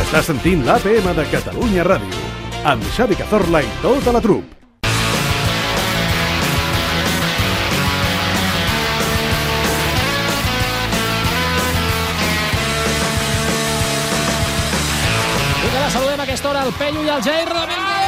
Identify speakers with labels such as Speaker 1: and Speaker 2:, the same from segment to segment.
Speaker 1: Està sentint l'APM de Catalunya Ràdio, amb Xavi Cazorla i tota la trup.
Speaker 2: Vinga, va, saludem a aquesta hora el Pello i el Jair Ramírez.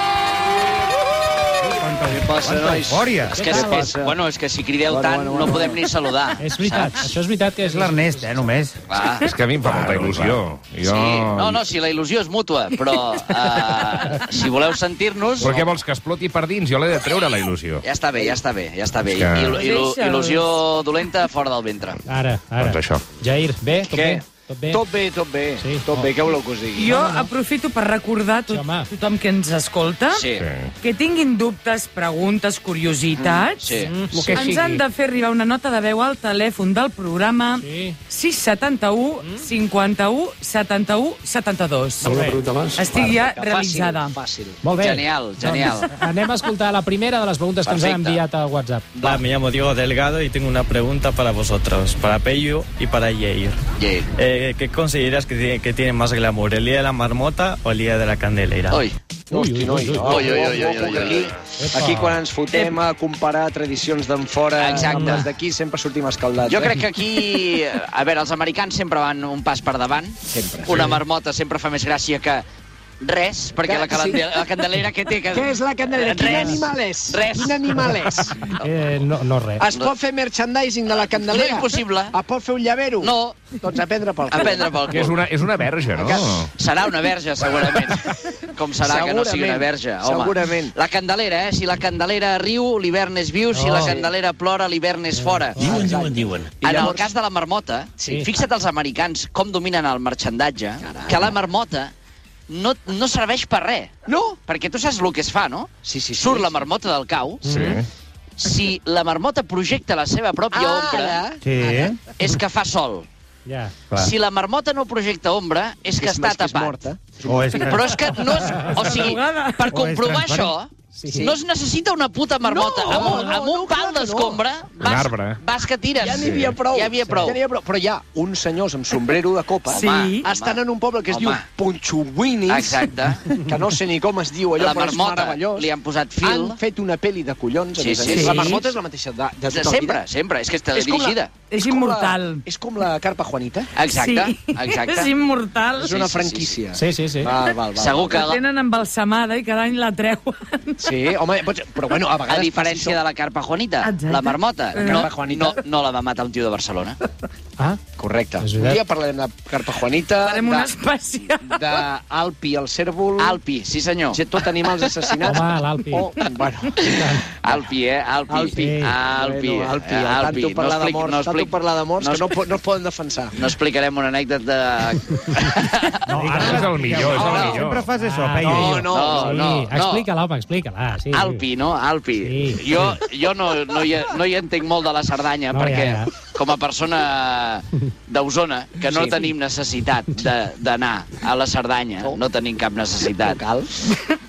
Speaker 3: Què passa,
Speaker 4: Quanta
Speaker 3: nois?
Speaker 4: eufòria.
Speaker 3: És que,
Speaker 2: Què
Speaker 3: és,
Speaker 2: tal?
Speaker 3: és, bueno, és que si crideu bueno, tant, bueno, bueno, no podem ni saludar.
Speaker 2: És veritat,
Speaker 3: Saps?
Speaker 2: això és veritat que és...
Speaker 4: És l'Ernest, eh, només.
Speaker 3: Va.
Speaker 5: És que a mi em fa molta il·lusió.
Speaker 3: Sí, no, no, si la il·lusió és mútua, però uh, si voleu sentir-nos...
Speaker 5: Però què vols, que exploti per dins? Jo l'he de treure, la il·lusió.
Speaker 3: Ja està bé, ja està bé, ja està bé.
Speaker 5: És que-
Speaker 3: Il, il, il·lusió dolenta fora del ventre.
Speaker 2: Ara, ara.
Speaker 5: Doncs això.
Speaker 2: Jair, bé? Tot
Speaker 6: Què?
Speaker 2: bé? Tot bé?
Speaker 6: Tot bé, tot bé.
Speaker 2: Sí.
Speaker 6: Tot bé, què voleu que us digui?
Speaker 7: Jo aprofito per recordar a
Speaker 2: Ah. Sí,
Speaker 7: tot,
Speaker 2: home.
Speaker 7: tothom que ens escolta
Speaker 3: Sí.
Speaker 5: Sí.
Speaker 7: que tinguin dubtes, preguntes, curiositats.
Speaker 3: Sí.
Speaker 2: Mm,
Speaker 6: El que
Speaker 7: Ens
Speaker 6: sigui.
Speaker 7: han de fer arribar una nota de veu al telèfon del programa
Speaker 2: Sí. Mm.
Speaker 7: 671 51 71 72.
Speaker 2: Molt bé.
Speaker 7: Estic ja
Speaker 6: Que
Speaker 7: realitzada.
Speaker 6: Fàcil, fàcil.
Speaker 2: Molt bé.
Speaker 3: Genial, genial.
Speaker 2: Doncs anem a escoltar la primera de les preguntes que ens han
Speaker 3: Perfecte.
Speaker 2: enviat a WhatsApp.
Speaker 8: Hola, me llamo Diego Delgado y tengo una pregunta para vosotros, para Peyu y para Jair.
Speaker 3: Yeah.
Speaker 8: Eh, ¿Qué consideras que tiene, que tiene más glamour, el día de la marmota o el día de la candelera?
Speaker 3: Ui,
Speaker 6: Hosti, noi.
Speaker 2: ui, ui.
Speaker 3: Ui, ui, ui, ui,
Speaker 6: Ojo,
Speaker 3: ui, ui,
Speaker 6: que aquí,
Speaker 3: ui.
Speaker 6: aquí quan ens fotem a comparar tradicions d'en fora
Speaker 3: Exacte.
Speaker 6: amb les d'aquí, sempre sortim escaldats. eh?
Speaker 3: jo crec que aquí... A veure, els americans sempre van un pas per davant.
Speaker 6: Sempre.
Speaker 3: Una marmota sempre fa més gràcia que res, perquè la, calande- la candelera que té... Que...
Speaker 6: Què és la candelera? Quin
Speaker 3: Res.
Speaker 6: animal és?
Speaker 3: Res.
Speaker 6: Quin animal és?
Speaker 2: Eh, no, no res.
Speaker 3: Ah.
Speaker 6: Es pot fer merchandising de la candelera?
Speaker 3: No, impossible.
Speaker 6: Es pot fer un llavero?
Speaker 3: No,
Speaker 6: Doncs a prendre pel
Speaker 3: a prendre pel
Speaker 5: Que és
Speaker 3: cul.
Speaker 5: una, Oh. és una verge, no?
Speaker 3: Serà una verge, segurament. Com serà que no sigui una
Speaker 6: Segurament,
Speaker 3: verge, home.
Speaker 6: segurament.
Speaker 3: La candelera, eh? Si la candelera riu, l'hivern és viu. Si
Speaker 2: Oh.
Speaker 3: la candelera plora, l'hivern és fora.
Speaker 6: Diuen, diuen, diuen.
Speaker 3: En el cas de la marmota,
Speaker 2: Sí.
Speaker 3: fixa't els americans com dominen el marxandatge, que la marmota no, no serveix per res.
Speaker 6: No?
Speaker 3: Perquè tu saps el que es fa, no?
Speaker 6: Sí, sí, sí.
Speaker 3: Surt la marmota del cau.
Speaker 5: Sí.
Speaker 3: Si la marmota projecta la seva pròpia
Speaker 6: Ah, Ara.
Speaker 3: ombra,
Speaker 4: Sí.
Speaker 3: és que fa sol.
Speaker 2: Ja.
Speaker 3: Si la marmota no projecta ombra, és que
Speaker 6: És
Speaker 3: està
Speaker 6: més que és
Speaker 3: tapat.
Speaker 6: morta.
Speaker 4: O és que...
Speaker 3: Però és que no és... O sigui, per comprovar això,
Speaker 4: transparent.
Speaker 6: Sí.
Speaker 3: no es necessita una puta marmota.
Speaker 6: No,
Speaker 3: amb un,
Speaker 6: no,
Speaker 3: amb un pal
Speaker 6: no, clar que no.
Speaker 3: d'escombra
Speaker 5: Un
Speaker 3: vas,
Speaker 5: arbre.
Speaker 3: vas que tires.
Speaker 6: Ja n'hi havia prou.
Speaker 3: Ja n'hi havia prou.
Speaker 6: Ja n'hi havia prou. Però hi ha uns senyors amb sombrero de copa
Speaker 7: Sí. Home,
Speaker 6: estan en un poble que es
Speaker 3: home.
Speaker 6: diu Ponchuguinis,
Speaker 3: Exacte.
Speaker 6: que no sé ni com es diu allò,
Speaker 3: La
Speaker 6: però és
Speaker 3: marmota,
Speaker 6: meravellós.
Speaker 3: li han posat fil.
Speaker 6: Han fet una pel·li de collons. a
Speaker 3: Sí,
Speaker 6: més a
Speaker 3: sí,
Speaker 6: més.
Speaker 7: sí.
Speaker 6: La marmota és la mateixa de,
Speaker 3: De
Speaker 6: de tota
Speaker 3: sempre,
Speaker 6: la vida.
Speaker 3: sempre. És que està
Speaker 6: com la-
Speaker 3: dirigida.
Speaker 7: És
Speaker 6: com la-
Speaker 7: immortal.
Speaker 6: És com la carpa Juanita.
Speaker 3: Exacte,
Speaker 7: sí.
Speaker 3: exacte.
Speaker 7: És immortal.
Speaker 6: És una
Speaker 3: Ah, sí, sí.
Speaker 6: franquícia.
Speaker 2: Sí, sí, sí.
Speaker 6: Val, val, val.
Speaker 3: Segur que
Speaker 7: La tenen embalsamada i cada any la treuen.
Speaker 6: Sí, home, pots- però bueno, a
Speaker 3: a
Speaker 6: vegades...
Speaker 3: diferència de la carpa Juanita,
Speaker 7: Exacte.
Speaker 3: la marmota,
Speaker 7: La
Speaker 3: no,
Speaker 6: carpa Juanita.
Speaker 3: no, no la va matar un tio de Barcelona.
Speaker 2: Ah,
Speaker 6: Correcte.
Speaker 2: És
Speaker 6: Un
Speaker 2: veritat.
Speaker 6: dia parlarem de carpa Juanita,
Speaker 7: Farem un
Speaker 6: de,
Speaker 7: especial.
Speaker 6: de Alpi, el cèrvol...
Speaker 3: Alpi, sí senyor.
Speaker 6: Gent, tot animals assassinats.
Speaker 2: Home, l'Alpi.
Speaker 6: O, bueno,
Speaker 3: Alpi, eh? Alpi. Alpi,
Speaker 6: Alpi.
Speaker 3: Alpi.
Speaker 6: bueno, Alpi, Alpi. Tanto parlar
Speaker 3: explic-
Speaker 6: d'amors,
Speaker 3: no,
Speaker 6: tanto
Speaker 3: explic-
Speaker 6: parlar d'amors,
Speaker 3: no,
Speaker 6: que no,
Speaker 3: expli-
Speaker 6: po- no es poden defensar.
Speaker 3: no explicarem una anècdota de...
Speaker 5: No, ara és el millor, és el
Speaker 3: no,
Speaker 5: millor.
Speaker 4: Sempre fas això,
Speaker 2: Ah,
Speaker 4: Peyu.
Speaker 2: sí,
Speaker 3: no, no, no, no.
Speaker 2: Explica-la, home, explica-la. Sí, sí.
Speaker 3: Alpi, no? Alpi.
Speaker 2: Sí.
Speaker 3: Jo, jo no, no, hi, no hi entenc molt de la Cerdanya,
Speaker 2: No,
Speaker 3: perquè
Speaker 2: ja, ja.
Speaker 3: com a persona d'Osona, que no
Speaker 6: Sí.
Speaker 3: tenim necessitat de- d'anar a la Cerdanya,
Speaker 6: Oh.
Speaker 3: no. tenim cap necessitat,
Speaker 6: Cal.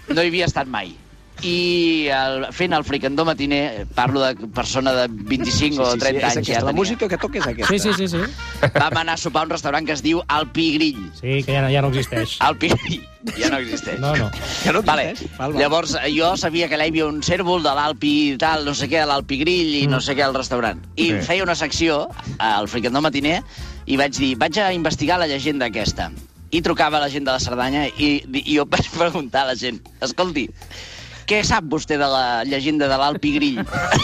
Speaker 3: no hi havia estat mai. I el, fent el fricandó matiner, parlo de persona de 25 o 30
Speaker 6: és
Speaker 3: anys ja
Speaker 6: aquesta, la
Speaker 3: tenia.
Speaker 6: música que toca és aquesta.
Speaker 2: Sí, sí, sí, sí.
Speaker 3: Vam anar a sopar a un restaurant que es diu Alpi Grill.
Speaker 2: Sí, que ja no, ja no existeix.
Speaker 3: Alpi Grill ja no existeix.
Speaker 2: No, no.
Speaker 6: Ja no eh?
Speaker 3: Vale.
Speaker 6: existeix. Val, val.
Speaker 3: Llavors, eh, jo sabia que allà hi havia un cèrvol de l'Alpi i tal, no sé què, l'Alpi Grill
Speaker 6: Mm.
Speaker 3: i no sé què al restaurant. I
Speaker 5: Sí.
Speaker 3: feia una secció al Fricandó Matiner i vaig dir, vaig a investigar la llegenda aquesta. I trucava a la gent de la Cerdanya i, di- i jo vaig preguntar a la gent, escolti, què sap vostè de la llegenda de l'Alpi Grill?
Speaker 2: La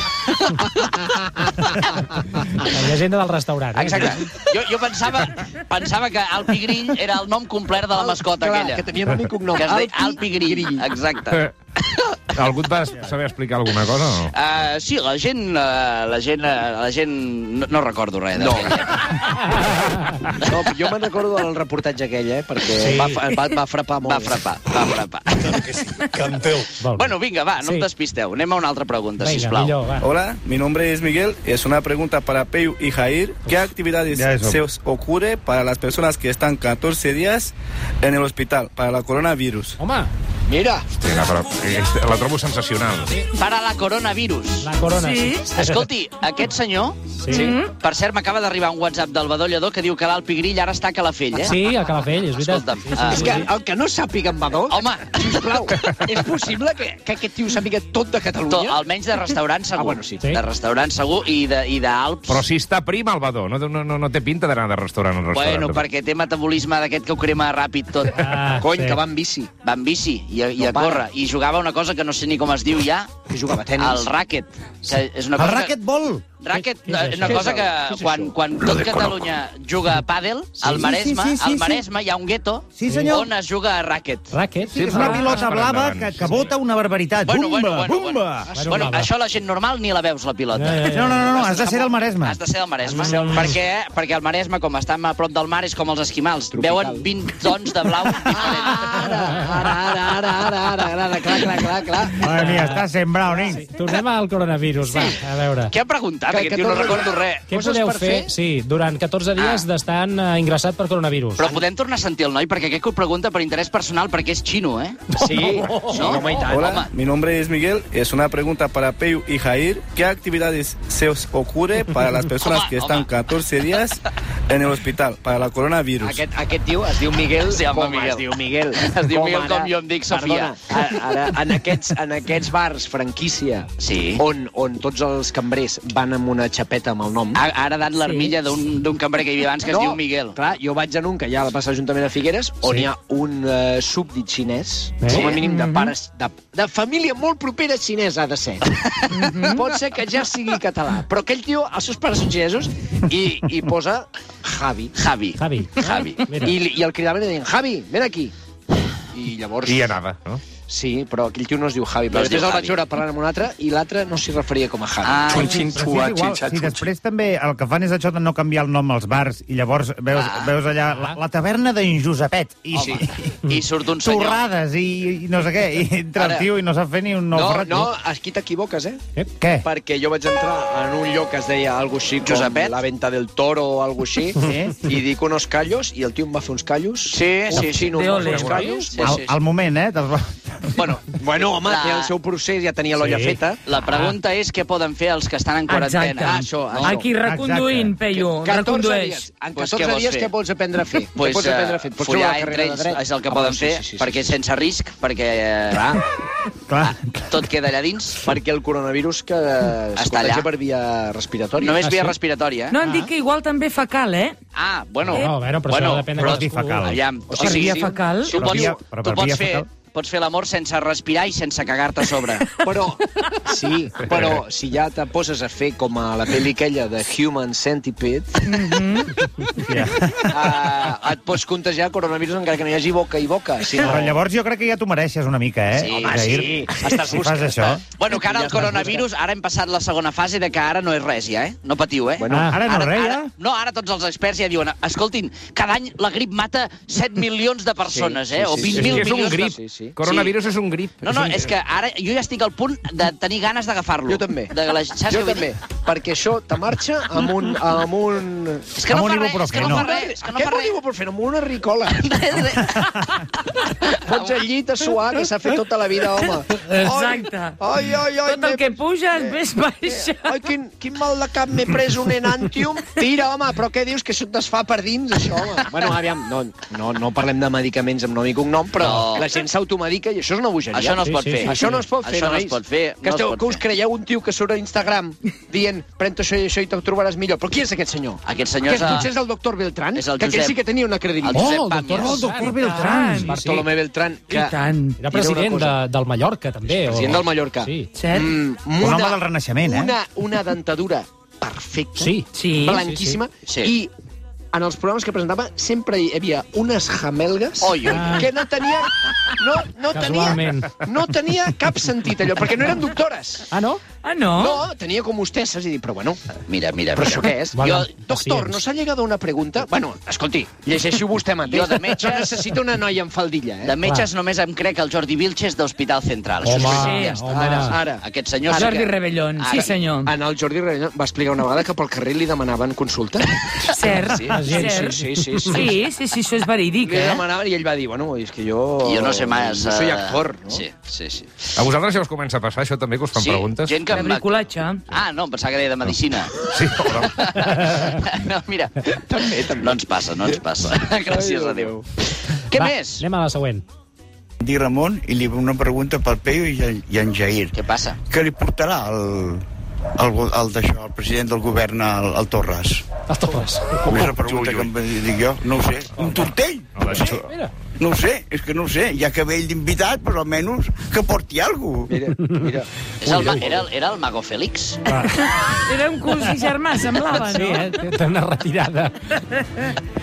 Speaker 2: llegenda del restaurant. Eh?
Speaker 3: Exacte. Jo, jo pensava, pensava que Alpi Grill era el nom complet de la mascota
Speaker 6: Clar,
Speaker 3: aquella.
Speaker 6: que tenia un únic cognom.
Speaker 3: que es deia
Speaker 6: Alpi
Speaker 3: Alpi Grill. Exacte.
Speaker 5: Eh, Algú et va saber explicar alguna cosa o no?
Speaker 3: Uh, sí, la gent... Uh, la gent... Uh, la gent... No, no recordo res. No.
Speaker 6: No, jo me'n recordo del reportatge aquell, eh, perquè
Speaker 2: Sí.
Speaker 6: va, fa- va, va frapar molt.
Speaker 3: Va frapar, va frapar.
Speaker 2: Molt bé.
Speaker 3: bueno, vinga, va, no
Speaker 2: Sí.
Speaker 3: em despisteu. Anem a una altra pregunta,
Speaker 2: Vinga,
Speaker 3: sisplau.
Speaker 2: millor, va.
Speaker 9: Hola, mi nombre es Miguel. Es una pregunta para Peyu y Jair. ¿Qué actividades
Speaker 4: Ya eso.
Speaker 9: se os ocurre para las personas que están 14 días en el hospital para la coronavirus?
Speaker 2: Home,
Speaker 6: Mira,
Speaker 5: Sí, no, però eh, la trobo sensacional.
Speaker 3: Per a la coronavirus.
Speaker 2: La corona,
Speaker 7: Sí?
Speaker 2: sí.
Speaker 3: Escolti, aquest senyor...
Speaker 2: Sí, sí.
Speaker 3: Per cert, m'acaba d'arribar un WhatsApp del Badó Lledó que diu que l'Alt Pigrill ara està a Calafell, eh?
Speaker 2: a Calafell, és veritat.
Speaker 3: Escolta'm,
Speaker 2: sí, sí,
Speaker 3: ah,
Speaker 2: sí,
Speaker 6: és que
Speaker 2: sí.
Speaker 6: el que no sàpiga en Badó,
Speaker 3: Home,
Speaker 6: sisplau, és possible que, que aquest tio sàpiga tot de
Speaker 3: to,
Speaker 6: Catalunya?
Speaker 3: almenys de restaurant segur.
Speaker 6: Ah, bueno, sí.
Speaker 3: De restaurant segur i de- i d'Alps.
Speaker 5: Però si està prim, Albador, no, no, no, no té pinta d'anar de restaurant en restaurant.
Speaker 3: Bueno, perquè té metabolisme d'aquest que ho crema ràpid tot.
Speaker 2: Ah,
Speaker 6: Cony,
Speaker 2: sí.
Speaker 6: que va en bici.
Speaker 3: Va amb bici i a, i a
Speaker 6: No para.
Speaker 3: córrer. I jugava una cosa que no sé ni com es diu ja.
Speaker 6: Que jugava a tenis.
Speaker 3: El ràquet. Que és una
Speaker 4: El
Speaker 3: cosa
Speaker 4: racquetbol.
Speaker 3: Que, ràquet,
Speaker 2: Què
Speaker 3: eh,
Speaker 2: és això?
Speaker 3: una
Speaker 6: Què és
Speaker 3: cosa que
Speaker 6: això?
Speaker 3: quan, quan tot Catalunya juga a pàdel, al
Speaker 4: Sí,
Speaker 3: Maresme,
Speaker 4: sí, sí, sí,
Speaker 3: al
Speaker 4: sí.
Speaker 3: Maresme hi ha un gueto
Speaker 4: Sí, senyor.
Speaker 3: on es juga a ràquet.
Speaker 2: Ràquet.
Speaker 4: Sí, és una
Speaker 5: va,
Speaker 4: pilota
Speaker 5: vas per
Speaker 4: blava
Speaker 5: endavant,
Speaker 4: que,
Speaker 5: sí,
Speaker 4: que bota una barbaritat.
Speaker 3: Bueno,
Speaker 4: bumba,
Speaker 3: bueno, bueno,
Speaker 4: bumba.
Speaker 3: bueno.
Speaker 2: Bueno,
Speaker 3: bueno,
Speaker 2: va, va.
Speaker 3: això la gent normal ni la veus, la pilota.
Speaker 2: Ja, ja, ja.
Speaker 4: No, no, no, no, has de ser del Maresme.
Speaker 3: Has de ser del Maresme.
Speaker 2: Has de ser del Maresme.
Speaker 3: Perquè, perquè el Maresme, com està a prop del mar, és com els esquimals. Veuen 20 tons de blau.
Speaker 6: Ara, ara, ara, ara, ara, ara, ara, ara, clar, clar, clar, clar.
Speaker 4: Madre mía, està eh? sembrat, nen.
Speaker 2: Tornem al coronavirus, va, a veure.
Speaker 3: Què ha preguntat?
Speaker 6: Que-
Speaker 3: Aquest
Speaker 6: que
Speaker 3: tio no
Speaker 6: tot-
Speaker 3: recordo res.
Speaker 2: Què
Speaker 6: Coses
Speaker 2: podeu
Speaker 6: per
Speaker 2: fer?
Speaker 6: fer?
Speaker 2: Sí, durant 14 dies d'estar eh, ingressat per coronavirus.
Speaker 3: Ah. Però podem tornar a sentir el noi, perquè aquest que ho pregunta per interès personal, perquè és xino, eh?
Speaker 8: Sí, sí, home, i tant.
Speaker 3: Home.
Speaker 9: Hola, mi nombre es Miguel. Es una pregunta para Peyu y Jair. ¿Qué actividades se os ocurre para las personas
Speaker 3: Home,
Speaker 9: que están
Speaker 3: home.
Speaker 9: 14 días en el hospital para la coronavirus?
Speaker 6: Aquest, aquest tio es diu Miguel
Speaker 3: Sí, home,
Speaker 6: Coma,
Speaker 3: Miguel.
Speaker 6: es diu Miguel.
Speaker 3: Es diu Miguel
Speaker 6: ara-
Speaker 3: com jo em dic, Sofia.
Speaker 6: Perdona, a- ara, en, aquests, en aquests bars franquícia,
Speaker 3: Sí.
Speaker 6: on, on tots els cambrers van amb una xapeta amb el nom...
Speaker 3: Ha, ha heredat l'armilla d'un d'un cambrer Ah, que hi havia abans, que es diu Miguel.
Speaker 6: Clar, jo vaig en un que hi ha a la plaça d'Ajuntament de Figueres, on
Speaker 2: Sí.
Speaker 6: hi ha un eh, súbdit xinès,
Speaker 2: Eh?
Speaker 6: com a mínim de
Speaker 3: Mm-hmm.
Speaker 4: Mhm.
Speaker 6: pares... De, de família molt propera xinesa ha de ser.
Speaker 3: Mm-hmm.
Speaker 6: Pot ser que ja sigui català, però aquell tio, els seus pares són xinesos, i, i posa Javi.
Speaker 3: Javi.
Speaker 2: Javi.
Speaker 3: Javi.
Speaker 2: Mira.
Speaker 6: I, li- i el cridaven i deien, Javi, ven aquí. I llavors...
Speaker 5: I anava, no?
Speaker 6: Sí, però aquell tio no es diu Javi.
Speaker 3: No
Speaker 6: Però
Speaker 3: es diu
Speaker 6: després el
Speaker 3: Javi.
Speaker 6: vaig veure parlant amb un altre i l'altre no s'hi referia com a Javi.
Speaker 3: Ah,
Speaker 9: Xun, xin,
Speaker 4: Però
Speaker 9: xua,
Speaker 4: si és igual,
Speaker 9: xin, xa,
Speaker 4: si
Speaker 9: xun,
Speaker 4: després també el que fan és això de no canviar el nom als bars i llavors veus, veus allà la, la taverna d'en Josepet i,
Speaker 3: Home. I surt un
Speaker 4: i
Speaker 3: senyor.
Speaker 4: torrades i, i no sé què, i entra
Speaker 6: Ara-
Speaker 4: el tio i no sap fer ni un nou
Speaker 6: no,
Speaker 4: ferrat.
Speaker 6: no, aquí t'equivoques, eh?
Speaker 4: Eh? Què?
Speaker 6: Perquè jo vaig entrar en un lloc que es deia algo així com
Speaker 3: Josepet?
Speaker 6: la venta del toro o algo així,
Speaker 4: Sí.
Speaker 6: i dic unos callos, i el tio em va fer uns callos.
Speaker 3: Sí,
Speaker 6: un
Speaker 3: sí, sí.
Speaker 6: xino em va fer
Speaker 7: Déu-li.
Speaker 6: uns callos.
Speaker 3: Sí,
Speaker 4: Al,
Speaker 3: sí, sí.
Speaker 4: al moment, eh? dels-
Speaker 3: Bueno,
Speaker 6: Bueno, home,
Speaker 3: La-
Speaker 6: té el seu procés, ja tenia l'olla
Speaker 2: Sí.
Speaker 6: feta.
Speaker 3: la pregunta és què poden fer els que estan en quarantena.
Speaker 7: Exacte.
Speaker 3: Ah, això,
Speaker 6: No.
Speaker 3: això.
Speaker 7: Aquí reconduint, Peyu,
Speaker 6: 14
Speaker 7: recondueix.
Speaker 6: dies. Eh? En
Speaker 3: Pues
Speaker 6: 14
Speaker 3: què vols
Speaker 6: dies
Speaker 3: fer?
Speaker 6: què vols aprendre a fer?
Speaker 3: Pues,
Speaker 6: què pots aprendre a
Speaker 3: eh,
Speaker 6: fer? Et pots treure
Speaker 3: follar
Speaker 6: la
Speaker 3: entre
Speaker 6: carrera de
Speaker 3: ells
Speaker 6: dret?
Speaker 3: és el que
Speaker 6: Ah,
Speaker 3: poden
Speaker 6: bueno,
Speaker 3: fer,
Speaker 6: sí, sí, sí,
Speaker 3: perquè
Speaker 6: sí.
Speaker 3: sense risc, perquè eh,
Speaker 6: Clar.
Speaker 4: Clar.
Speaker 3: tot queda allà dins.
Speaker 6: perquè el coronavirus que es
Speaker 3: Està allà.
Speaker 6: contagia per via respiratòria.
Speaker 3: Només
Speaker 2: Ah,
Speaker 3: via
Speaker 2: sí?
Speaker 3: respiratòria, eh?
Speaker 7: No, han dit que igual també facal, eh?
Speaker 3: Ah, bueno.
Speaker 7: No,
Speaker 2: bueno, però això depèn de
Speaker 3: però-
Speaker 2: cadascú.
Speaker 4: Facal.
Speaker 3: Aviam,
Speaker 6: Per
Speaker 3: o sigui,
Speaker 7: via fecal?
Speaker 3: Tu
Speaker 4: Per
Speaker 3: pots,
Speaker 4: via-
Speaker 3: tu
Speaker 4: però per
Speaker 3: pots
Speaker 4: via
Speaker 3: fer,
Speaker 4: fecal?
Speaker 3: pots fer l'amor sense respirar i sense cagar-te a sobre.
Speaker 6: Però, sí, però si ja te poses a fer com a la pel·li aquella de Human Centipede,
Speaker 4: Ja.
Speaker 6: eh, et pots contagiar coronavirus encara que no hi hagi boca i boca. Si no,
Speaker 4: Però llavors jo crec que ja t'ho mereixes una mica, eh?
Speaker 3: Sí, home,
Speaker 4: Jair?
Speaker 6: sí. Estàs
Speaker 4: si
Speaker 6: buscant,
Speaker 4: fas això...
Speaker 3: Bueno, que ara el coronavirus, ara hem passat la segona fase de que ara no és res ja, eh? No patiu, eh?
Speaker 4: Bueno, ara no, res,
Speaker 3: ara,
Speaker 4: ja?
Speaker 3: no, ara tots els experts ja diuen escoltin, cada any la grip mata 7 milions de persones, eh? O
Speaker 6: sí,
Speaker 3: 20
Speaker 6: sí,
Speaker 5: És,
Speaker 3: mil
Speaker 5: que és un
Speaker 3: milions de...
Speaker 5: grip.
Speaker 6: sí, sí.
Speaker 5: Coronavirus és un grip.
Speaker 3: No, no,
Speaker 5: un
Speaker 3: és
Speaker 5: grip.
Speaker 3: que ara jo ja estic al punt de tenir ganes d'agafar-lo.
Speaker 6: Jo també.
Speaker 3: De la, saps
Speaker 6: jo
Speaker 3: què vull
Speaker 6: també,
Speaker 3: dir?
Speaker 6: perquè això te marxa amb un... Amb un...
Speaker 3: És que no
Speaker 4: Amb
Speaker 3: fa
Speaker 4: un
Speaker 3: res, és que no
Speaker 4: ibuprofeno.
Speaker 3: fa res, és que no
Speaker 6: Què
Speaker 3: fa
Speaker 6: vol
Speaker 3: res.
Speaker 6: ibuprofeno? Amb una ricola. Fots
Speaker 3: Fots
Speaker 6: al llit a suar, que s'ha fet tota la vida, home.
Speaker 7: Exacte.
Speaker 6: Ai, ai, ai,
Speaker 7: Tot el que puja és més baixa.
Speaker 6: Ai, quin, quin mal de cap m'he pres un enantium. Tira, home, però què dius? Que això et desfà per dins, això, home. Bueno, aviam, no, no, no parlem de medicaments amb nom i cognom, però
Speaker 3: No.
Speaker 6: la gent s'automedica i això és una bogeria.
Speaker 3: Això no es
Speaker 2: Sí,
Speaker 3: pot
Speaker 2: sí,
Speaker 3: fer.
Speaker 2: sí,
Speaker 6: Això no es pot fer,
Speaker 3: Això no
Speaker 6: nois.
Speaker 3: es pot fer.
Speaker 6: Que,
Speaker 3: no es
Speaker 6: esteu,
Speaker 3: pot
Speaker 6: que us
Speaker 3: fer.
Speaker 6: creieu un tio que surt a Instagram dient pren això i això i te'l trobaràs millor. Però qui és aquest senyor?
Speaker 3: Aquest senyor
Speaker 6: que
Speaker 3: és,
Speaker 6: és, potser
Speaker 3: a...
Speaker 6: és el doctor Beltrán,
Speaker 3: és el
Speaker 6: que aquell
Speaker 3: Josep-
Speaker 6: sí que tenia una
Speaker 3: el
Speaker 6: credibilitat.
Speaker 3: Josep
Speaker 2: Oh, el doctor
Speaker 3: Pàmies.
Speaker 4: Doctor
Speaker 7: Exacte.
Speaker 4: Beltrán.
Speaker 6: Bartolomé Beltrán, que...
Speaker 7: I tant.
Speaker 2: Era
Speaker 6: Diré una
Speaker 2: president
Speaker 6: cosa.
Speaker 2: de, del Mallorca, també.
Speaker 6: President del Mallorca.
Speaker 2: Sí.
Speaker 7: Cert?
Speaker 6: Mm,
Speaker 4: Un home del Renaixement, eh?
Speaker 6: Una, una dentadura perfecta.
Speaker 2: Sí.
Speaker 7: Sí.
Speaker 6: blanquíssima,
Speaker 3: sí, sí.
Speaker 6: i en els programes que presentava sempre hi havia unes jamelgues
Speaker 3: Oi, oi.
Speaker 6: que no tenia, no, no, tenia,
Speaker 2: Casualment.
Speaker 6: no tenia cap sentit allò, perquè no eren doctores.
Speaker 2: Ah, no?
Speaker 7: Ah, no?
Speaker 6: No, tenía como hostesas y dije, pero bueno,
Speaker 3: Mira, mira,
Speaker 6: però
Speaker 3: mira.
Speaker 6: això què és?
Speaker 2: Vale,
Speaker 6: Jo,
Speaker 2: pacients.
Speaker 6: doctor, nos ha llegado una pregunta... Bueno, escolti, llegeixi-ho vostè mateix.
Speaker 3: Jo de metges-
Speaker 6: Però necessito una noia amb faldilla, eh?
Speaker 3: De metges només em crec el Jordi Vilches d'Hospital Central. Això
Speaker 2: Home,
Speaker 3: sí,
Speaker 7: sí,
Speaker 3: ja està.
Speaker 2: Ah, home.
Speaker 3: Ara, Ah, ara. Aquest senyor... sí
Speaker 7: Jordi
Speaker 3: que-
Speaker 7: Rebellón, sí
Speaker 3: Ara.
Speaker 7: senyor.
Speaker 6: En el Jordi Reina va explicar una vegada que pel carrer li demanaven consulta.
Speaker 7: Cert,
Speaker 6: Sí,
Speaker 7: cert.
Speaker 6: sí, sí,
Speaker 7: Sí,
Speaker 6: sí, sí.
Speaker 7: sí, sí, això és verídic,
Speaker 6: Li
Speaker 7: eh?
Speaker 6: demanaven i ell va dir, bueno, és que jo...
Speaker 3: Jo no sé més...
Speaker 6: No soy
Speaker 3: eh,
Speaker 6: actor, no?
Speaker 3: Sí, sí, sí.
Speaker 5: A vosaltres ja us comença a passar això també, que us fan
Speaker 3: sí,
Speaker 5: preguntes?
Speaker 3: Gent que...
Speaker 7: De bricolatge.
Speaker 3: Ah, no, em pensava que deia de medicina.
Speaker 5: Sí, però...
Speaker 3: no, mira, també, també. no ens passa, no ens passa. Gràcies a Déu. Què
Speaker 2: Va,
Speaker 3: més?
Speaker 2: Anem a la següent.
Speaker 10: Di Ramon i li una pregunta per Peyu i, en- i en Jair.
Speaker 3: Què passa?
Speaker 10: Què li portarà el, el, go- el, d'això, el president del govern al, al Torres?
Speaker 2: Els topes.
Speaker 10: Com és la pregunta que em dic jo? No ho sé. Un tortell?
Speaker 5: No,
Speaker 10: No ho sé.
Speaker 2: Mira.
Speaker 10: No ho sé, és que no ho sé. Hi ha cabell d'invitat, però almenys que porti alguna cosa.
Speaker 6: Mira, mira.
Speaker 3: És el, ma- era, el- era el Mago Félix?
Speaker 7: Érem curs i germà, semblava,
Speaker 2: Sí,
Speaker 7: no?
Speaker 2: eh? Té té una retirada.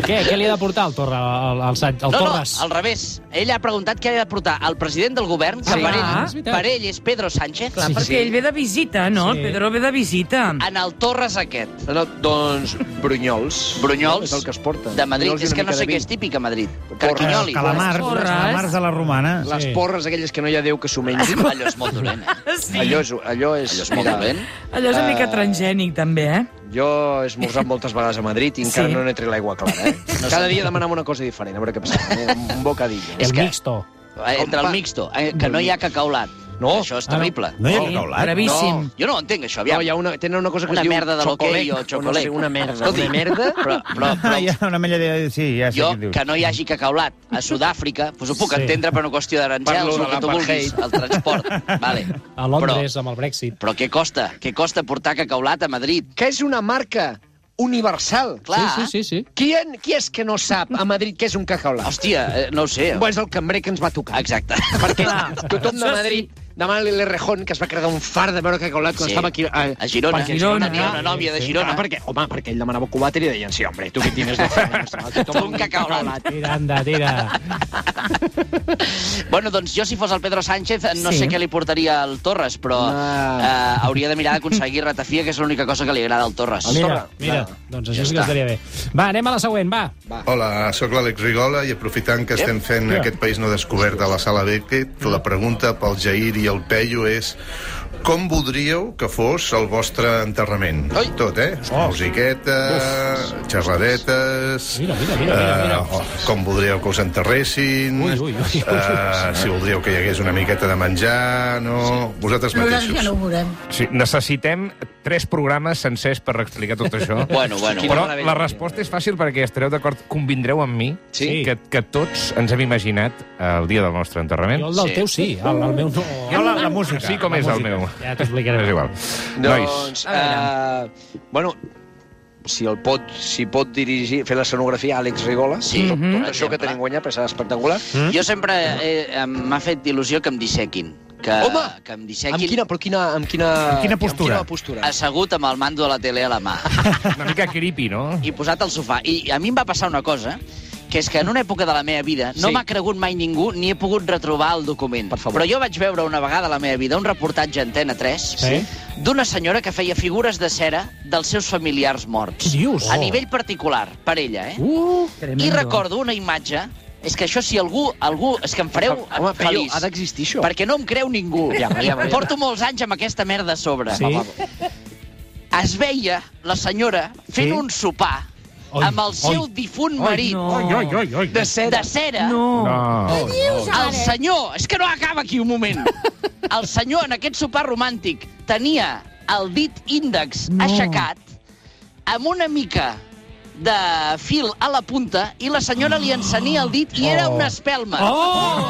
Speaker 2: què? Què li ha de portar al Torre, al, al, Sant, al
Speaker 3: no,
Speaker 2: Torres?
Speaker 3: no, al revés. Ell ha preguntat què ha de portar el president del govern, que
Speaker 7: Sí,
Speaker 3: per,
Speaker 7: clar.
Speaker 2: És
Speaker 3: ell,
Speaker 2: veritat.
Speaker 3: per ell és Pedro Sánchez,
Speaker 7: Ah, Clar, perquè ell ve de visita, no? El
Speaker 2: Sí.
Speaker 7: Pedro ve de visita.
Speaker 3: en el Torres aquest,
Speaker 6: No, doncs, brunyols.
Speaker 3: Brunyols,
Speaker 6: És el que es porta.
Speaker 3: de Madrid.
Speaker 6: Brunyols Doncs i
Speaker 3: És
Speaker 6: una
Speaker 3: que no
Speaker 6: mica
Speaker 3: sé
Speaker 6: de
Speaker 3: què
Speaker 6: vi.
Speaker 3: és típic a Madrid.
Speaker 6: Torres,
Speaker 3: Carquinyoli.
Speaker 4: Calamars,
Speaker 7: Torres.
Speaker 4: calamars a la romana.
Speaker 6: Les
Speaker 2: Sí.
Speaker 6: porres aquelles que no hi ha Déu que s'ho mengin.
Speaker 3: Allò és molt dolent, eh?
Speaker 7: Sí.
Speaker 6: Allò és... Allò és,
Speaker 3: Allò és molt dolent.
Speaker 7: Allò és una mica
Speaker 6: Eh,
Speaker 7: transgènic, també, eh?
Speaker 6: Jo he esmorzat moltes vegades a Madrid i encara
Speaker 7: Sí.
Speaker 6: no n'he tret l'aigua clara. Eh? Cada dia demanam una cosa diferent, a veure què passa. Eh? Un bocadillo.
Speaker 2: El
Speaker 3: que-
Speaker 2: mixto.
Speaker 3: Entre el mixto, eh, que no hi ha cacaulat.
Speaker 6: No.
Speaker 3: Això és
Speaker 2: Ah, no.
Speaker 3: terrible.
Speaker 4: No hi ha
Speaker 7: Sí,
Speaker 4: cacaulat?
Speaker 7: Bravíssim.
Speaker 3: Jo no ho entenc, això.
Speaker 6: No,
Speaker 3: Aviam.
Speaker 6: hi ha una, tenen una cosa que
Speaker 3: Una
Speaker 6: es diu
Speaker 3: merda de l'hoquei o
Speaker 6: No sé,
Speaker 3: xocolate.
Speaker 6: una merda.
Speaker 3: Escolti,
Speaker 6: una merda.
Speaker 3: Però, però, però,
Speaker 4: Ah, hi ha una mella de... Sí, ja sé
Speaker 3: jo,
Speaker 4: què dius.
Speaker 3: que no hi hagi cacaulat a Sud-àfrica, doncs ho puc
Speaker 2: Sí.
Speaker 3: entendre per una qüestió
Speaker 6: Parlo
Speaker 3: d'arancels,
Speaker 6: de
Speaker 3: el que tu vulguis,
Speaker 6: l'apartheid.
Speaker 3: el transport. Vale.
Speaker 2: A Londres, amb el Brexit.
Speaker 3: Però, però què costa? Què costa portar cacaulat a Madrid?
Speaker 6: Que és una marca universal.
Speaker 3: Clar.
Speaker 2: Sí, sí, sí. sí.
Speaker 6: Qui, en, qui és que no sap a Madrid què és un cacaulat?
Speaker 3: Hòstia, eh, no ho sé.
Speaker 6: Bueno, és el cambrer que ens va tocar.
Speaker 3: Exacte.
Speaker 6: Perquè
Speaker 7: Clar.
Speaker 6: tothom de
Speaker 7: Això sí.
Speaker 6: Madrid demana a Rejón, que es va quedar un fart de veure cacaulat quan
Speaker 3: Sí.
Speaker 6: estava aquí... A,
Speaker 3: A Girona.
Speaker 6: perquè-
Speaker 7: Girona,
Speaker 3: Tenia una
Speaker 7: eh?
Speaker 3: nòvia de
Speaker 6: Girona,
Speaker 3: Girona.
Speaker 6: perquè, home, perquè ell demanava cubata i li deien, sí, hombre, tu que tienes de fer?
Speaker 3: Tu un cacaulat.
Speaker 2: Tira, anda, tira.
Speaker 3: Ah, Bueno, doncs jo, si fos el Pedro Sánchez, no
Speaker 7: Sí.
Speaker 3: sé què li portaria al Torres, però eh,
Speaker 6: Ah.
Speaker 3: hauria de mirar d'aconseguir ratafia, que és l'única cosa que li agrada al Torres.
Speaker 2: Mira, mira.
Speaker 3: Ah,
Speaker 6: Va.
Speaker 2: Doncs això sí que estaria bé. Va, anem a la següent, va.
Speaker 10: Hola, sóc l'Àlex Rigola i aprofitant que estem fent
Speaker 2: Ja.
Speaker 10: aquest País No Descobert a la Sala Beckett, la pregunta pel Jair i el Peyu és com voldríeu que fos el vostre enterrament?
Speaker 6: Ai.
Speaker 10: Tot, eh?
Speaker 5: Oh.
Speaker 10: Musiqueta, xerradetes...
Speaker 2: Mira, mira, mira, mira, mira.
Speaker 10: eh, oh, com voldríeu que us enterressin...
Speaker 2: Ui, ui, ui, ui.
Speaker 10: eh, si voldríeu que hi hagués una miqueta de menjar... No... Vosaltres mateixos.
Speaker 5: Sí, necessitem tres programes sencers per explicar tot això.
Speaker 3: Bueno, bueno.
Speaker 5: Però
Speaker 6: Quina
Speaker 5: la resposta és fàcil perquè estareu d'acord, convindreu amb mi
Speaker 2: Sí.
Speaker 5: que, que tots ens hem imaginat el dia del nostre enterrament.
Speaker 2: Jo el del
Speaker 3: Sí.
Speaker 2: teu sí, el, el meu no.
Speaker 5: Jo la, la música. Sí, com
Speaker 2: La
Speaker 5: és el
Speaker 2: música.
Speaker 5: meu.
Speaker 2: Ja t'explicaré.
Speaker 5: És igual.
Speaker 6: Doncs,
Speaker 7: A
Speaker 6: eh, bueno, si el pot, si pot dirigir, fer l'escenografia Àlex Rigola,
Speaker 3: Sí.
Speaker 6: tot,
Speaker 3: Mhm.
Speaker 6: tot Mm-hmm. això que Mm-hmm. tenim guanyat, perquè serà espectacular.
Speaker 3: Jo sempre eh, em- m'ha fet il·lusió que em dissequin. Que,
Speaker 6: Home!
Speaker 3: que em
Speaker 6: Amb
Speaker 3: dissequin
Speaker 6: quina, però quina, amb quina,
Speaker 4: Amb quina postura?
Speaker 6: Amb quina postura?
Speaker 3: assegut amb el mando de la tele a la mà
Speaker 5: Una mica creepy, no?
Speaker 3: i posat al sofà. I a mi em va passar una cosa, que és que en una època de la meva vida no
Speaker 6: Sí.
Speaker 3: m'ha cregut mai ningú ni he pogut retrobar el document.
Speaker 6: Per favor.
Speaker 3: Però jo vaig veure una vegada a la meva vida un reportatge a Antena 3
Speaker 2: Sí.
Speaker 3: d'una senyora que feia figures de cera dels seus familiars morts.
Speaker 2: Què dius?
Speaker 6: Oh.
Speaker 3: A nivell particular, per ella, eh?
Speaker 2: Uh,
Speaker 3: I
Speaker 7: Tremendo.
Speaker 3: recordo una imatge... És que això, si algú... algú és que em fareu
Speaker 6: Home, però
Speaker 3: feliç.
Speaker 6: ha d'existir això.
Speaker 3: Perquè no em creu ningú.
Speaker 6: Aviam, aviam, aviam.
Speaker 3: Porto molts anys amb aquesta merda a sobre.
Speaker 2: Sí.
Speaker 3: Es veia la senyora fent
Speaker 2: Sí.
Speaker 3: un sopar
Speaker 2: Oi,
Speaker 3: amb el seu
Speaker 2: oi.
Speaker 3: difunt marit
Speaker 7: no.
Speaker 5: oi, oi.
Speaker 6: De seda.
Speaker 3: de cera.
Speaker 7: No.
Speaker 5: No.
Speaker 3: El senyor... És que no acaba aquí un moment. El senyor, en aquest sopar romàntic, tenia el dit índex
Speaker 7: No.
Speaker 3: aixecat amb una mica de fil a la punta i la senyora li encenia el dit i era una espelma.
Speaker 2: Oh!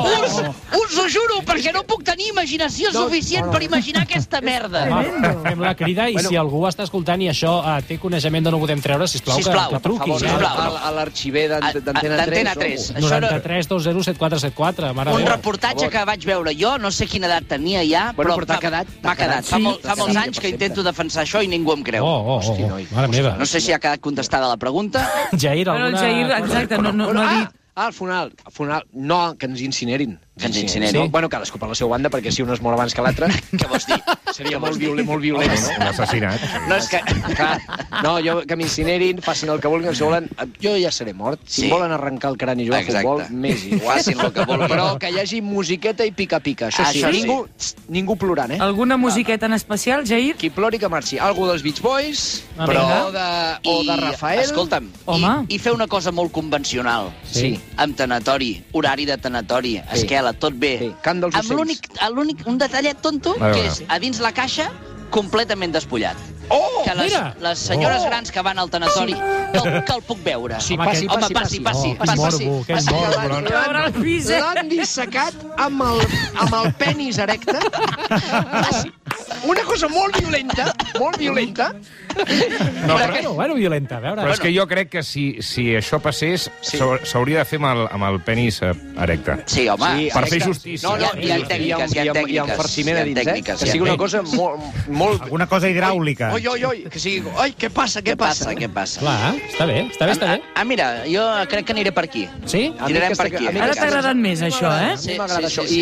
Speaker 3: Us, us ho juro, perquè no puc tenir imaginació suficient per imaginar aquesta merda.
Speaker 2: Va, fem la crida i si algú està escoltant i això eh, té coneixement de no ho podem treure, sisplau,
Speaker 3: Sisplau,
Speaker 2: que, eh? que
Speaker 3: per
Speaker 2: truqui.
Speaker 3: favor, sisplau.
Speaker 6: A, a l'arxiver d'An-
Speaker 3: A- a-
Speaker 6: d'Antena 3.
Speaker 3: d'Antena
Speaker 6: o-
Speaker 3: 3. Això no-
Speaker 2: 93 20 7474, mare
Speaker 3: Un
Speaker 2: de Déu.
Speaker 3: reportatge que vaig veure jo, no sé quina edat tenia ja,
Speaker 6: Bueno,
Speaker 3: però,
Speaker 6: però t'ha
Speaker 3: fa-
Speaker 6: quedat,
Speaker 3: m'ha
Speaker 6: t'ha quedat.
Speaker 3: quedat. Fa,
Speaker 7: Sí,
Speaker 3: molt, fa
Speaker 7: sí,
Speaker 3: molts
Speaker 7: sí,
Speaker 3: anys
Speaker 6: per
Speaker 3: que
Speaker 6: sempre.
Speaker 3: intento defensar això i ningú em creu.
Speaker 2: Oh, oh, oh,
Speaker 6: Hosti,
Speaker 2: oh.
Speaker 6: noi,
Speaker 2: mare meva.
Speaker 3: No sé si ha quedat contestada la pregunta.
Speaker 2: Jair,
Speaker 7: Però
Speaker 2: alguna...
Speaker 7: el Jair, exacte, no, no, no
Speaker 6: Bueno,
Speaker 7: ha
Speaker 6: ah,
Speaker 7: dit...
Speaker 6: ah, el funeral. El funeral. No, que ens incinerin.
Speaker 3: que ens incineri.
Speaker 6: No?
Speaker 3: Sí.
Speaker 6: Bueno, cadascú per la seva banda, perquè si un es mor abans que l'altre,
Speaker 3: Què vols dir?
Speaker 6: seria molt violent, molt violent, no?
Speaker 5: Un assassinat.
Speaker 3: No, és que...
Speaker 6: Clar, no, jo, que m'incinerin, facin el que vulguin, si volen... eh, Jo ja seré mort. Si
Speaker 3: Sí.
Speaker 6: em volen arrencar el crani jugant a
Speaker 3: Exacte.
Speaker 6: futbol, més igual.
Speaker 3: Facin el que vulguin.
Speaker 6: Però que hi hagi musiqueta i pica-pica. Això, sí,
Speaker 3: Això sí.
Speaker 6: ningú, txt, ningú plorant,
Speaker 3: Ah!
Speaker 6: eh? El...
Speaker 7: Alguna musiqueta en especial, Jair?
Speaker 6: Qui plori que marxi. Algú dels Beach Boys,
Speaker 7: Ah,
Speaker 6: però...
Speaker 7: vinga.
Speaker 6: o, de, o de Rafael...
Speaker 3: Escolta'm,
Speaker 7: Home.
Speaker 3: I, i fer una cosa molt convencional.
Speaker 6: Sí.
Speaker 3: Amb tanatori, horari de tanatori,
Speaker 6: Sí.
Speaker 3: esquela, tot bé.
Speaker 6: Sí, cant dels
Speaker 3: Amb
Speaker 6: ocells.
Speaker 3: l'únic, l'únic, un detallet tonto,
Speaker 5: A veure.
Speaker 3: que és a dins la caixa completament despullat.
Speaker 6: Oh!
Speaker 3: que les,
Speaker 2: mira!
Speaker 3: les senyores grans que van al tanatori, que, el- que el puc veure.
Speaker 6: Sí,
Speaker 2: Home,
Speaker 6: passi,
Speaker 2: aquest-
Speaker 3: Home,
Speaker 6: passi,
Speaker 3: passi, passi,
Speaker 2: Oh,
Speaker 3: passi.
Speaker 2: quin morbo,
Speaker 3: passi.
Speaker 2: que és
Speaker 3: Passi.
Speaker 2: morbo.
Speaker 7: A veure el pis, eh?
Speaker 6: L'han dissecat amb el, amb el penis erecte. Una cosa molt violenta, molt violenta.
Speaker 5: No, però,
Speaker 2: Bueno, bueno, violenta, a veure.
Speaker 5: però és que jo crec que si, si això passés,
Speaker 6: Sí.
Speaker 5: s'hau- s'hauria de fer amb el, amb el penis eh, erecte.
Speaker 3: Sí, home.
Speaker 6: Sí,
Speaker 5: Per fer
Speaker 6: erecte.
Speaker 5: justícia.
Speaker 3: No, no, hi ha
Speaker 6: i-
Speaker 3: tècniques, hi ha
Speaker 6: i- i-
Speaker 3: tècniques.
Speaker 6: I amb farciment a
Speaker 3: Hi ha
Speaker 6: dins, eh?
Speaker 3: tècniques,
Speaker 6: Que
Speaker 3: hi ha
Speaker 6: sigui una cosa
Speaker 3: tècniques.
Speaker 6: molt... molt...
Speaker 4: Alguna cosa hidràulica.
Speaker 6: Oi, oi, oi, que sigui... Oi, què passa, què,
Speaker 3: Què passa,
Speaker 6: eh?
Speaker 3: què passa?
Speaker 2: Clar, està bé, està bé, està
Speaker 3: Ah,
Speaker 2: bé.
Speaker 3: ah, mira, jo crec que aniré per aquí.
Speaker 2: Sí?
Speaker 6: A mi
Speaker 3: Tirarem
Speaker 6: aquesta-
Speaker 3: per aquí. eh?
Speaker 6: a mi
Speaker 7: Ara
Speaker 6: aquesta-
Speaker 7: t'ha agradat més, això, eh?
Speaker 6: A mi m'agrada
Speaker 3: Sí, sí,
Speaker 6: això.
Speaker 3: sí, sí,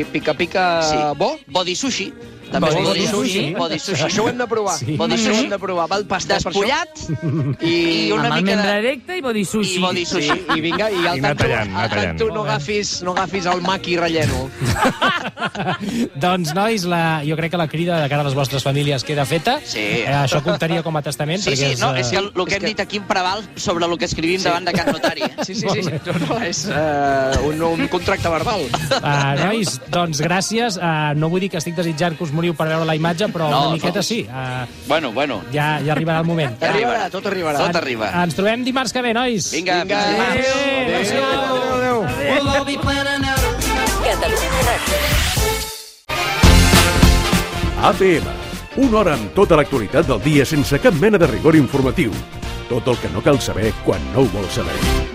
Speaker 6: I pica-pica bo?
Speaker 3: Body sushi. També
Speaker 2: Body
Speaker 3: es podria.
Speaker 2: sushi.
Speaker 3: Body sushi.
Speaker 6: Això ho hem de provar.
Speaker 2: Sí.
Speaker 6: Vol dir, Això ho hem de provar. Val pasta per això.
Speaker 3: Mm-hmm. Despullat i una
Speaker 7: Amb el
Speaker 3: mica
Speaker 7: membre
Speaker 3: de...
Speaker 7: erecte i body
Speaker 3: I
Speaker 7: sushi.
Speaker 3: body
Speaker 6: Sí,
Speaker 3: sushi.
Speaker 6: i vinga, i al
Speaker 5: I anar
Speaker 6: tanto,
Speaker 5: tallant, anar
Speaker 6: al
Speaker 5: tallant.
Speaker 6: tanto no agafis, no agafis el maqui relleno.
Speaker 2: Doncs, nois, la, jo crec que la crida de cara a les vostres famílies queda feta.
Speaker 3: Sí.
Speaker 2: Eh, això comptaria com a testament.
Speaker 3: Sí, sí,
Speaker 2: perquè
Speaker 3: no,
Speaker 2: eh,
Speaker 3: és que el que hem dit aquí preval sobre el que escrivim davant de Can Notari. eh?
Speaker 6: Sí, sí, sí. sí. No, no, és uh, un, un contracte verbal.
Speaker 2: Uh, nois, doncs gràcies. Uh, no vull dir que estic desitjant que us moriu per veure la imatge, però no,
Speaker 3: No,
Speaker 2: una miqueta
Speaker 3: no.
Speaker 2: no. sí. Uh,
Speaker 3: Bueno, bueno,
Speaker 2: ja, ja arribarà el moment.
Speaker 6: Ja arribarà, tot arribarà.
Speaker 3: tot arriba.
Speaker 2: Ens trobem dimarts que ve, nois.
Speaker 3: Vinga,
Speaker 6: Vinga,
Speaker 3: fins dimarts.
Speaker 6: adéu.
Speaker 2: Adéu. Adéu. Adéu.
Speaker 1: APM. Una hora amb tota l'actualitat del dia sense cap mena de rigor informatiu. Tot el que no cal saber quan no ho vols saber.